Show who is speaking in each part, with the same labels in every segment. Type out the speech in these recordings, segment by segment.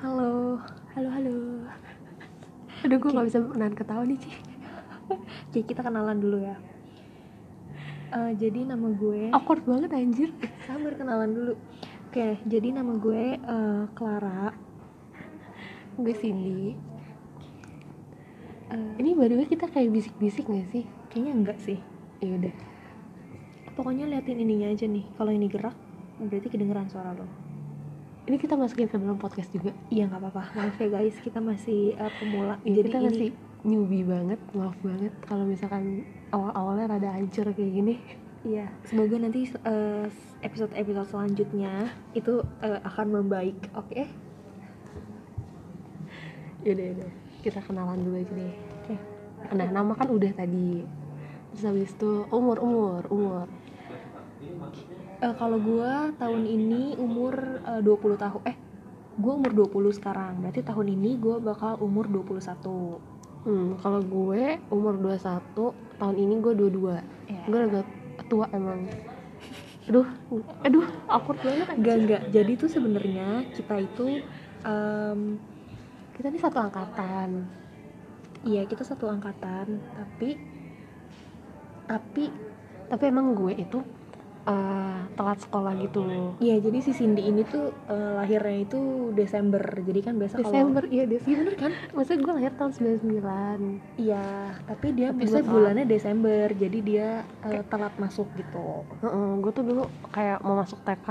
Speaker 1: Halo,
Speaker 2: Halo halo.
Speaker 1: aduh gue nggak bisa menahan ketawa nih Ci.
Speaker 2: Oke kita kenalan dulu ya. Eh, jadi nama gue.
Speaker 1: Awkward banget anjir.
Speaker 2: sabar kenalan dulu. Oke jadi nama gue eh, Clara.
Speaker 1: Gue Cindy.
Speaker 2: Eh,
Speaker 1: Ini by the way kita kayak bisik-bisik gak sih?
Speaker 2: kayaknya enggak sih.
Speaker 1: Ya udah.
Speaker 2: Pokoknya liatin ininya aja nih. Kalau ini gerak berarti kedengeran suara lo.
Speaker 1: Ini kita masukin ke dalam podcast juga.
Speaker 2: Iya nggak apa-apa. Maaf ya guys kita masih eh, pemula.
Speaker 1: Ya,
Speaker 2: jadi
Speaker 1: kita
Speaker 2: ini
Speaker 1: masih newbie banget, maaf banget kalau misalkan awal-awalnya rada hancur kayak gini.
Speaker 2: Iya, semoga nanti eh, episode-episode selanjutnya itu eh, akan membaik, oke?
Speaker 1: Ya udah, ya udah. Kita kenalan dulu aja deh.
Speaker 2: Oke.
Speaker 1: Nah, nama kan udah tadi. Terus habis itu umur, umur, umur.
Speaker 2: Eh, kalau gua tahun ini umur eh, 20 tahun eh gua umur 20 sekarang. Berarti tahun ini gua bakal umur 21.
Speaker 1: Hmm, kalau gue umur 21, tahun ini gue 22.
Speaker 2: Ya.
Speaker 1: gue agak tua emang aduh aduh awkward banget
Speaker 2: Enggak, enggak. Jadi tuh sebenarnya kita itu em,
Speaker 1: kita nih satu angkatan
Speaker 2: iya kita satu angkatan, tapi tapi
Speaker 1: tapi emang gue itu eh, telat sekolah gitu loh
Speaker 2: iya jadi si Cindy ini tuh eh, lahirnya itu Desember. Jadi kan biasa kalau
Speaker 1: Desember iya Desember bener kan maksudnya gue lahir tahun 99
Speaker 2: Iya, tapi dia
Speaker 1: Tapi
Speaker 2: biasanya
Speaker 1: gua telat.
Speaker 2: bulannya Desember, jadi dia eh, telat masuk gitu.
Speaker 1: Heeh, gue tuh dulu kayak mau masuk TK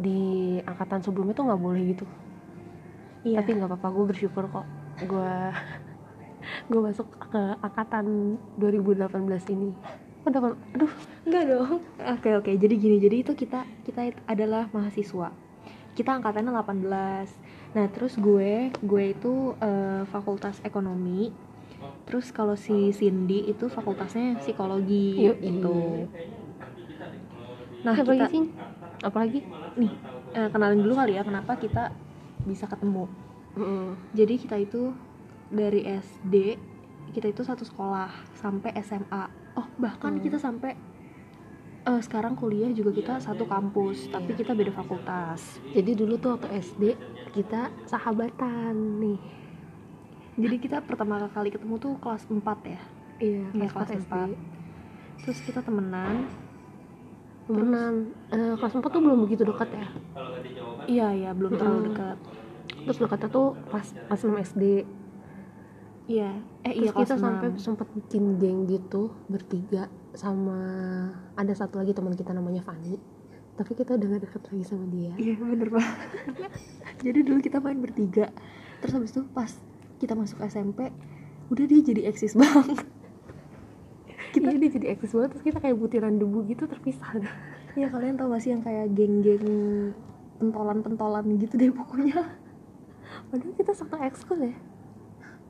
Speaker 1: di angkatan sebelumnya tuh nggak boleh gitu
Speaker 2: Iya.
Speaker 1: tapi nggak apa-apa gue bersyukur kok gue gue masuk ke angkatan 2018 ini Oh, dapat- aduh
Speaker 2: enggak dong. Oke oke, jadi gini, jadi itu kita kita it- adalah mahasiswa. Kita angkatannya 18. Nah, terus gue, gue itu eh, fakultas ekonomi. Terus kalau si Cindy itu fakultasnya psikologi
Speaker 1: Yuk,
Speaker 2: gitu. Nah,
Speaker 1: nah, apalagi
Speaker 2: kita
Speaker 1: sih apalagi
Speaker 2: nih eh, kenalin dulu kali ya kenapa kita bisa ketemu.
Speaker 1: Heeh.
Speaker 2: Jadi kita itu dari SD kita itu satu sekolah sampai SMA. Oh bahkan
Speaker 1: Hmm.
Speaker 2: kita sampai eh, sekarang kuliah juga kita satu kampus, tapi kita beda fakultas.
Speaker 1: Jadi dulu tuh waktu SD kita sahabatan nih.
Speaker 2: Jadi kita pertama kali ketemu tuh kelas 4 ya.
Speaker 1: Iya,
Speaker 2: Iya,
Speaker 1: kelas 4
Speaker 2: kelas
Speaker 1: SD.
Speaker 2: empat. Terus kita temenan.
Speaker 1: Temenan. Eh, kelas 4 tuh belum begitu dekat ya.
Speaker 2: Iya iya belum terlalu
Speaker 1: Mm-mm.
Speaker 2: dekat.
Speaker 1: Terus dekatnya tuh kelas kelas 6 SD.
Speaker 2: Iya. Eh
Speaker 1: Terus
Speaker 2: iya kelas
Speaker 1: kita sampai
Speaker 2: 6.
Speaker 1: sempat bikin geng gitu bertiga sama ada satu lagi teman kita namanya Fani. Tapi kita udah gak deket lagi sama dia.
Speaker 2: Iya bener banget Jadi dulu kita main bertiga Terus habis itu pas kita masuk SMP Udah dia jadi eksis banget
Speaker 1: Kita dia jadi eksis banget terus kita kayak butiran debu gitu terpisah.
Speaker 2: Ya kalian tau gak sih yang kayak geng-geng Pentolan-pentolan gitu deh pokoknya
Speaker 1: Padahal kita satu ekskul ya.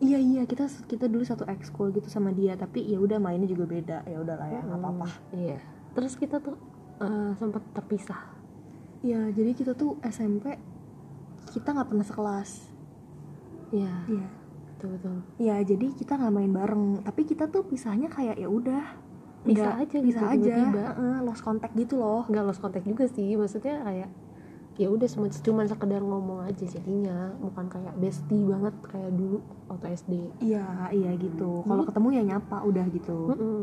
Speaker 2: Iya iya kita kita dulu satu ekskul gitu sama dia Tapi ya udah mainnya juga beda Ya udahlah ya nggak apa-apa
Speaker 1: Iya. Terus kita tuh eh, sempat terpisah.
Speaker 2: Iya jadi kita tuh SMP Kita nggak pernah sekelas
Speaker 1: Iya,
Speaker 2: Iya
Speaker 1: betul betul.
Speaker 2: Ya jadi kita nggak main bareng Tapi kita tuh pisahnya kayak ya udah
Speaker 1: Bisa
Speaker 2: Nggak-
Speaker 1: aja gitu,
Speaker 2: bisa aja
Speaker 1: tiba-tiba.
Speaker 2: Heeh, lost contact gitu loh
Speaker 1: nggak lost contact juga sih maksudnya kayak ya udah cuma cuman sekedar ngomong aja jadinya bukan kayak bestie banget kayak dulu waktu SD
Speaker 2: Iya, iya gitu.
Speaker 1: Hmm.
Speaker 2: Kalau ketemu ya nyapa udah gitu.
Speaker 1: Mm-mm.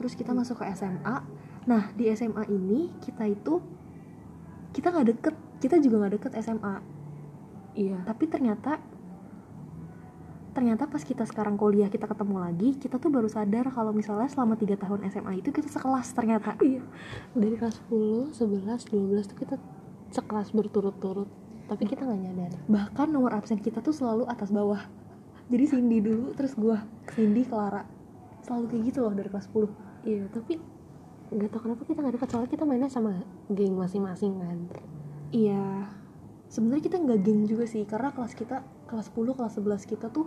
Speaker 2: Terus kita masuk ke SMA. Nah, di SMA ini kita itu kita nggak deket, kita juga nggak deket SMA.
Speaker 1: iya
Speaker 2: Tapi ternyata ternyata pas kita sekarang kuliah kita ketemu lagi, kita tuh baru sadar kalau misalnya selama tiga tahun SMA itu kita sekelas ternyata.
Speaker 1: iya dari kelas 10 11 12 tuh kita sekelas berturut-turut tapi kita nggak nyadar
Speaker 2: Bahkan nomor absen kita tuh selalu atas bawah. Jadi Cindy dulu, terus gua Cindy, Clara. Selalu kayak gitu loh dari kelas 10.
Speaker 1: iya tapi nggak tahu kenapa kita nggak dekat soalnya kita mainnya sama geng masing-masing kan
Speaker 2: Iya. Sebenarnya kita nggak geng juga sih karena kelas kita kelas 10, kelas 11 kita tuh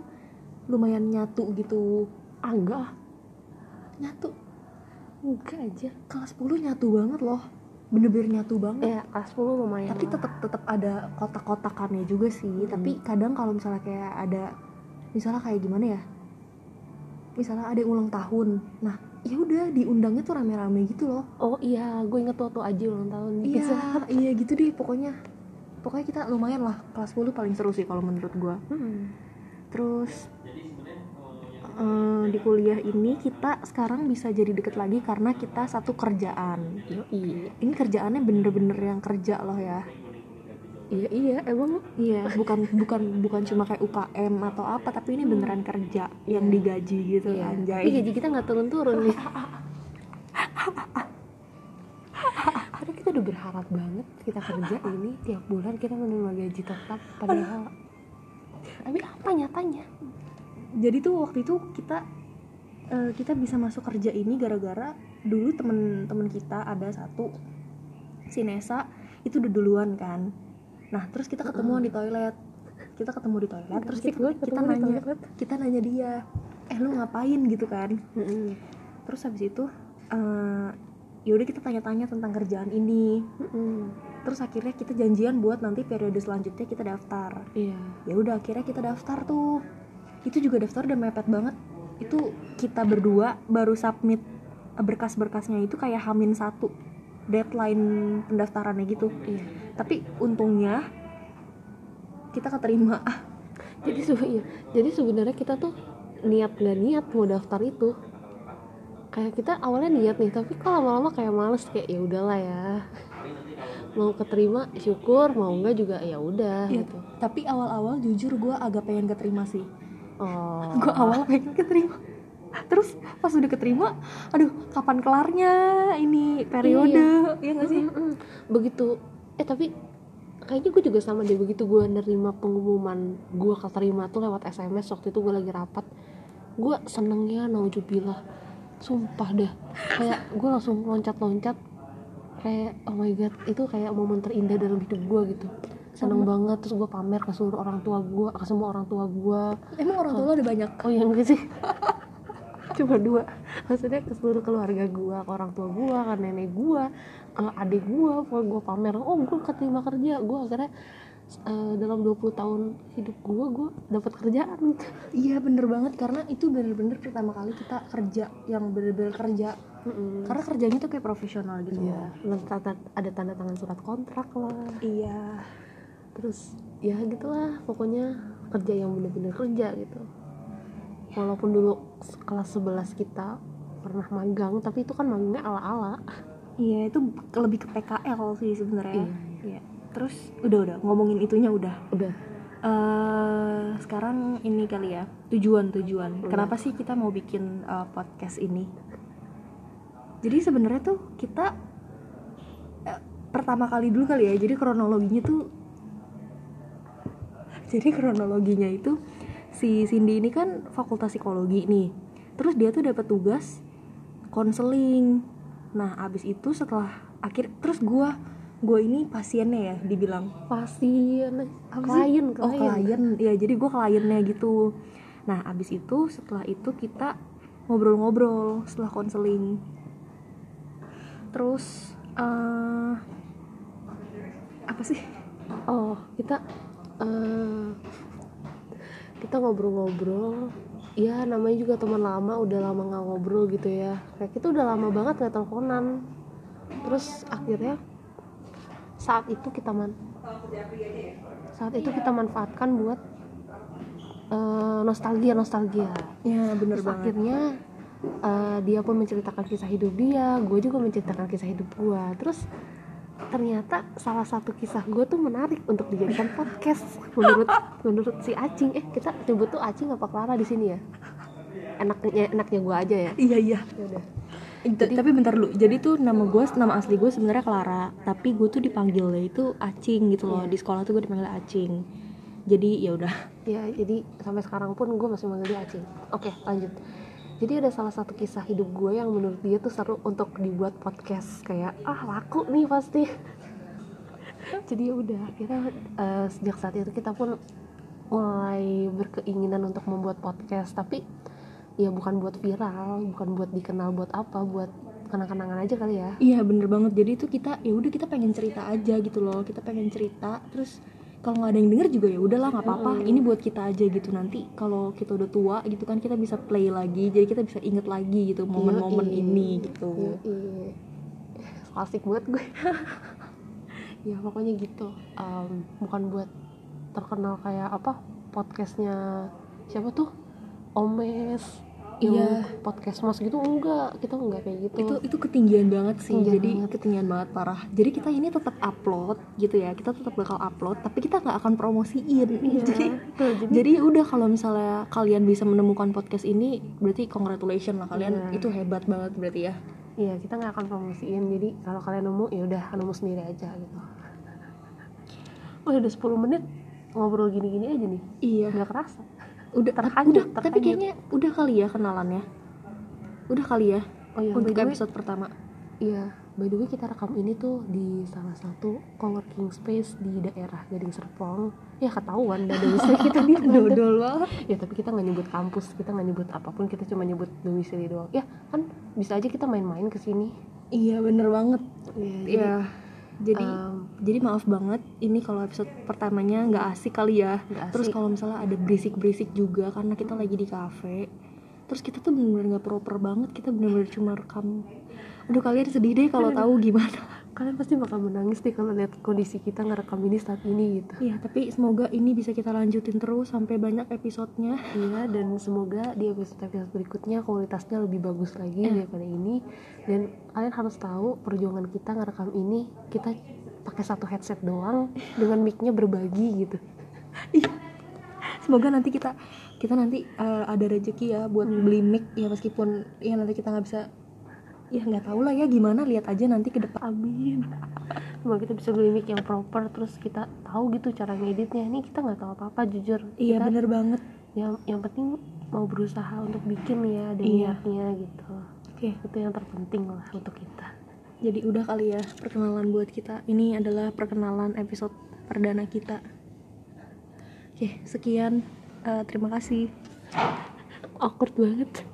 Speaker 2: lumayan nyatu gitu.
Speaker 1: ah enggak ah.
Speaker 2: Nyatu.
Speaker 1: enggak aja
Speaker 2: Kelas 10 nyatu banget loh. Bener-bener nyatu banget.
Speaker 1: ya kelas 10 lumayan
Speaker 2: Tapi
Speaker 1: lah.
Speaker 2: tetap tetap ada kotak-kotakannya juga sih.
Speaker 1: Hmm.
Speaker 2: Tapi kadang kalau misalnya kayak ada misalnya kayak gimana ya? Misalnya ada yang ulang tahun. Nah, ya udah diundangnya tuh rame-rame gitu loh.
Speaker 1: oh iya gue inget waktu aja ulang tahun di
Speaker 2: Iya,
Speaker 1: Pizza Hut.
Speaker 2: iya gitu deh pokoknya. pokoknya kita lumayan lah kelas 10 paling seru sih kalau menurut gue terus eh, di kuliah ini kita sekarang bisa jadi deket lagi karena kita satu kerjaan
Speaker 1: Yo, iya
Speaker 2: ini kerjaannya bener-bener yang kerja loh ya
Speaker 1: iya iya emang
Speaker 2: iya bukan bukan bukan cuma kayak UKM atau apa tapi ini beneran kerja yang digaji gitu
Speaker 1: iya.
Speaker 2: anjay
Speaker 1: Tapi gaji kita nggak turun turun nih karena kita udah berharap banget kita kerja ini tiap bulan kita menerima gaji tetap padahal tapi apa nyatanya
Speaker 2: jadi tuh waktu itu kita eh, kita bisa masuk kerja ini gara-gara dulu temen-temen kita ada satu si Nesa itu udah duluan kan nah terus kita ketemuan di toilet kita ketemu di toilet terus
Speaker 1: Asik
Speaker 2: kita,
Speaker 1: banget
Speaker 2: kita
Speaker 1: ketemu di
Speaker 2: nanya
Speaker 1: toilet.
Speaker 2: kita nanya dia eh lu ngapain gitu kan
Speaker 1: Mm-mm.
Speaker 2: terus habis itu eh, yaudah kita tanya-tanya tentang kerjaan ini
Speaker 1: Mm-mm.
Speaker 2: terus akhirnya kita janjian buat nanti periode selanjutnya kita daftar
Speaker 1: iya
Speaker 2: ya udah akhirnya kita daftar tuh itu juga daftar udah mepet banget itu kita berdua baru submit berkas-berkasnya itu kayak hamin satu deadline pendaftarannya gitu
Speaker 1: iya
Speaker 2: tapi untungnya kita keterima
Speaker 1: jadi se- iya. jadi sebenarnya kita tuh niat nggak niat mau daftar itu kayak kita awalnya niat nih tapi kok lama-lama kayak males kayak ya udahlah ya mau keterima syukur mau nggak juga ya udah
Speaker 2: Iya.
Speaker 1: gitu
Speaker 2: tapi awal-awal jujur gue agak pengen keterima sih
Speaker 1: oh
Speaker 2: gue awal pengen keterima terus pas udah keterima aduh kapan kelarnya ini periode ya nggak sih
Speaker 1: Mm-mm. begitu eh tapi kayaknya gue juga sama deh begitu gue nerima pengumuman gue keterima tuh lewat sms waktu itu gue lagi rapat gue senengnya naujubillah sumpah dah kayak gue langsung loncat-loncat kayak oh my god itu kayak momen terindah dalam hidup gue gitu seneng banget terus gue pamer ke seluruh orang tua gue ke semua orang tua gue
Speaker 2: emang orang tua lo ada banyak
Speaker 1: oh yang enggak sih cuma dua maksudnya ke seluruh keluarga gua ke orang tua gua ke nenek gua ke adik gua pokoknya gua pamer oh gua keterima kerja gua akhirnya eh, dalam 20 tahun hidup gua gua dapat kerjaan
Speaker 2: Iya bener banget karena itu bener-bener pertama kali kita kerja yang bener-bener kerja
Speaker 1: Mm-mm.
Speaker 2: karena kerjanya tuh kayak profesional gitu
Speaker 1: Iya, belum tanda- ada tanda tangan surat kontrak lah
Speaker 2: Iya
Speaker 1: terus ya gitulah pokoknya kerja yang bener-bener kerja gitu walaupun dulu kelas 11 kita pernah magang tapi itu kan magangnya ala-ala
Speaker 2: iya itu lebih ke PKL sih sebenarnya
Speaker 1: Iya,
Speaker 2: iya. terus udah udah ngomongin itunya udah
Speaker 1: udah
Speaker 2: eh sekarang ini kali ya tujuan tujuan
Speaker 1: Udah.
Speaker 2: kenapa sih kita mau bikin eh, podcast ini jadi sebenarnya tuh kita eh, pertama kali dulu kali ya jadi kronologinya tuh jadi kronologinya itu si Cindy ini kan fakultas psikologi nih terus dia tuh dapat tugas konseling nah abis itu setelah akhir terus gua gua ini pasiennya ya dibilang
Speaker 1: pasien
Speaker 2: Apa sih?
Speaker 1: klien
Speaker 2: oh klien ya jadi gue kliennya gitu nah abis itu setelah itu kita ngobrol-ngobrol setelah konseling terus eh apa sih
Speaker 1: oh kita eh, kita ngobrol-ngobrol ya namanya juga teman lama udah lama nggak ngobrol gitu ya kayak kita udah lama banget nggak teleponan terus akhirnya saat itu kita man saat itu kita manfaatkan buat eh, nostalgia nostalgia
Speaker 2: ya bener
Speaker 1: Terus akhirnya eh, dia pun menceritakan kisah hidup dia, gue juga menceritakan kisah hidup gue. Terus ternyata salah satu kisah gue tuh menarik untuk dijadikan podcast menurut menurut si Acing. Eh kita nyebut tuh Acing apa Clara di sini ya? Enaknya enaknya gue aja ya.
Speaker 2: iya iya
Speaker 1: Yaudah.
Speaker 2: Eh, t- tapi bentar dulu jadi tuh nama gue nama asli gue sebenarnya Clara tapi gue tuh dipanggilnya itu Acing gitu loh di sekolah tuh gue dipanggil Acing jadi ya udah
Speaker 1: Ya jadi sampai sekarang pun gue masih manggil dia Acing. Oke lanjut. Jadi ada salah satu kisah hidup gue yang menurut dia tuh seru untuk dibuat podcast kayak ah laku nih pasti. jadi ya udah akhirnya eh, sejak saat itu kita pun mulai berkeinginan untuk membuat podcast tapi ya bukan buat viral, bukan buat dikenal buat apa, buat kenang-kenangan aja kali ya.
Speaker 2: Iya bener banget jadi itu kita ya udah kita pengen cerita aja gitu loh kita pengen cerita terus kalau nggak ada yang denger juga ya udahlah nggak apa-apa ini buat kita aja gitu nanti kalau kita udah tua gitu kan kita bisa play lagi jadi kita bisa inget lagi
Speaker 1: Iya,
Speaker 2: gitu momen-momen gitu.
Speaker 1: Yoi.
Speaker 2: ini gitu
Speaker 1: Yoi. Klasik banget gue. ya pokoknya gitu Em, bukan buat terkenal kayak apa podcastnya siapa tuh Omes ilmu
Speaker 2: Iya.
Speaker 1: podcast mas gitu enggak kita enggak kayak gitu
Speaker 2: itu itu ketinggian banget sih
Speaker 1: Ketinggian
Speaker 2: jadi
Speaker 1: banget.
Speaker 2: ketinggian banget parah jadi kita ini tetap upload gitu ya kita tetap bakal upload tapi kita nggak akan promosiin
Speaker 1: Iya,
Speaker 2: jadi
Speaker 1: betul. jadi
Speaker 2: jadi ya udah kalau misalnya kalian bisa menemukan podcast ini berarti congratulations lah kalian
Speaker 1: Iya.
Speaker 2: itu hebat banget berarti ya
Speaker 1: iya kita nggak akan promosiin jadi kalau kalian nemu ya udah nemu sendiri aja gitu Wah, udah 10 menit ngobrol gini-gini aja nih
Speaker 2: iya
Speaker 1: nggak kerasa
Speaker 2: udah
Speaker 1: terhanyut,
Speaker 2: udah tapi
Speaker 1: terhanyut.
Speaker 2: kayaknya udah kali ya kenalannya udah kali ya
Speaker 1: oh iya
Speaker 2: untuk
Speaker 1: by the way-
Speaker 2: episode pertama
Speaker 1: Iya, by the way kita rekam ini tuh di salah satu co-working space di daerah Gading Serpong. Ya ketahuan dan domisili kita gitu di Bandung.
Speaker 2: dodol banget
Speaker 1: Ya tapi kita nggak nyebut kampus, kita nggak nyebut apapun, kita cuma nyebut domisili doang. Ya kan bisa aja kita main-main ke sini.
Speaker 2: iya bener banget
Speaker 1: Iya.
Speaker 2: iya jadi jadi maaf banget ini kalau episode pertamanya nggak asik kali ya
Speaker 1: Nggak
Speaker 2: terus
Speaker 1: asik.
Speaker 2: kalau misalnya ada berisik-berisik juga karena kita lagi di kafe terus kita tuh bener-bener nggak proper banget kita bener-bener cuma rekam aduh kalian sedih deh kalau tahu gimana
Speaker 1: kalian pasti bakal menangis nih kalau lihat kondisi kita ngerekam ini saat ini gitu.
Speaker 2: ya tapi semoga ini bisa kita lanjutin terus sampai banyak episodenya
Speaker 1: Iya dan semoga di episode-episode berikutnya kualitasnya lebih bagus lagi
Speaker 2: Iya.
Speaker 1: daripada ini dan kalian harus tahu perjuangan kita ngerekam ini kita pakai satu headset doang dengan mic-nya berbagi gitu.
Speaker 2: semoga nanti kita kita nanti eh, ada rezeki ya buat
Speaker 1: Hmm.
Speaker 2: beli mic ya meskipun ya nanti kita nggak bisa ya nggak tahu lah ya gimana lihat aja nanti ke depan
Speaker 1: Amin. Semoga kita bisa beli mic yang proper terus kita tahu gitu cara ngeditnya. Ini kita nggak tahu apa-apa jujur.
Speaker 2: iya
Speaker 1: Kita
Speaker 2: bener banget
Speaker 1: yang yang penting mau berusaha untuk bikin ya dan
Speaker 2: Iya.
Speaker 1: niatnya gitu.
Speaker 2: oke
Speaker 1: Itu yang terpenting lah untuk kita.
Speaker 2: Jadi udah kali ya perkenalan buat kita. Ini adalah perkenalan episode perdana kita. Oke, sekian. Eh, terima kasih.
Speaker 1: Awkward banget.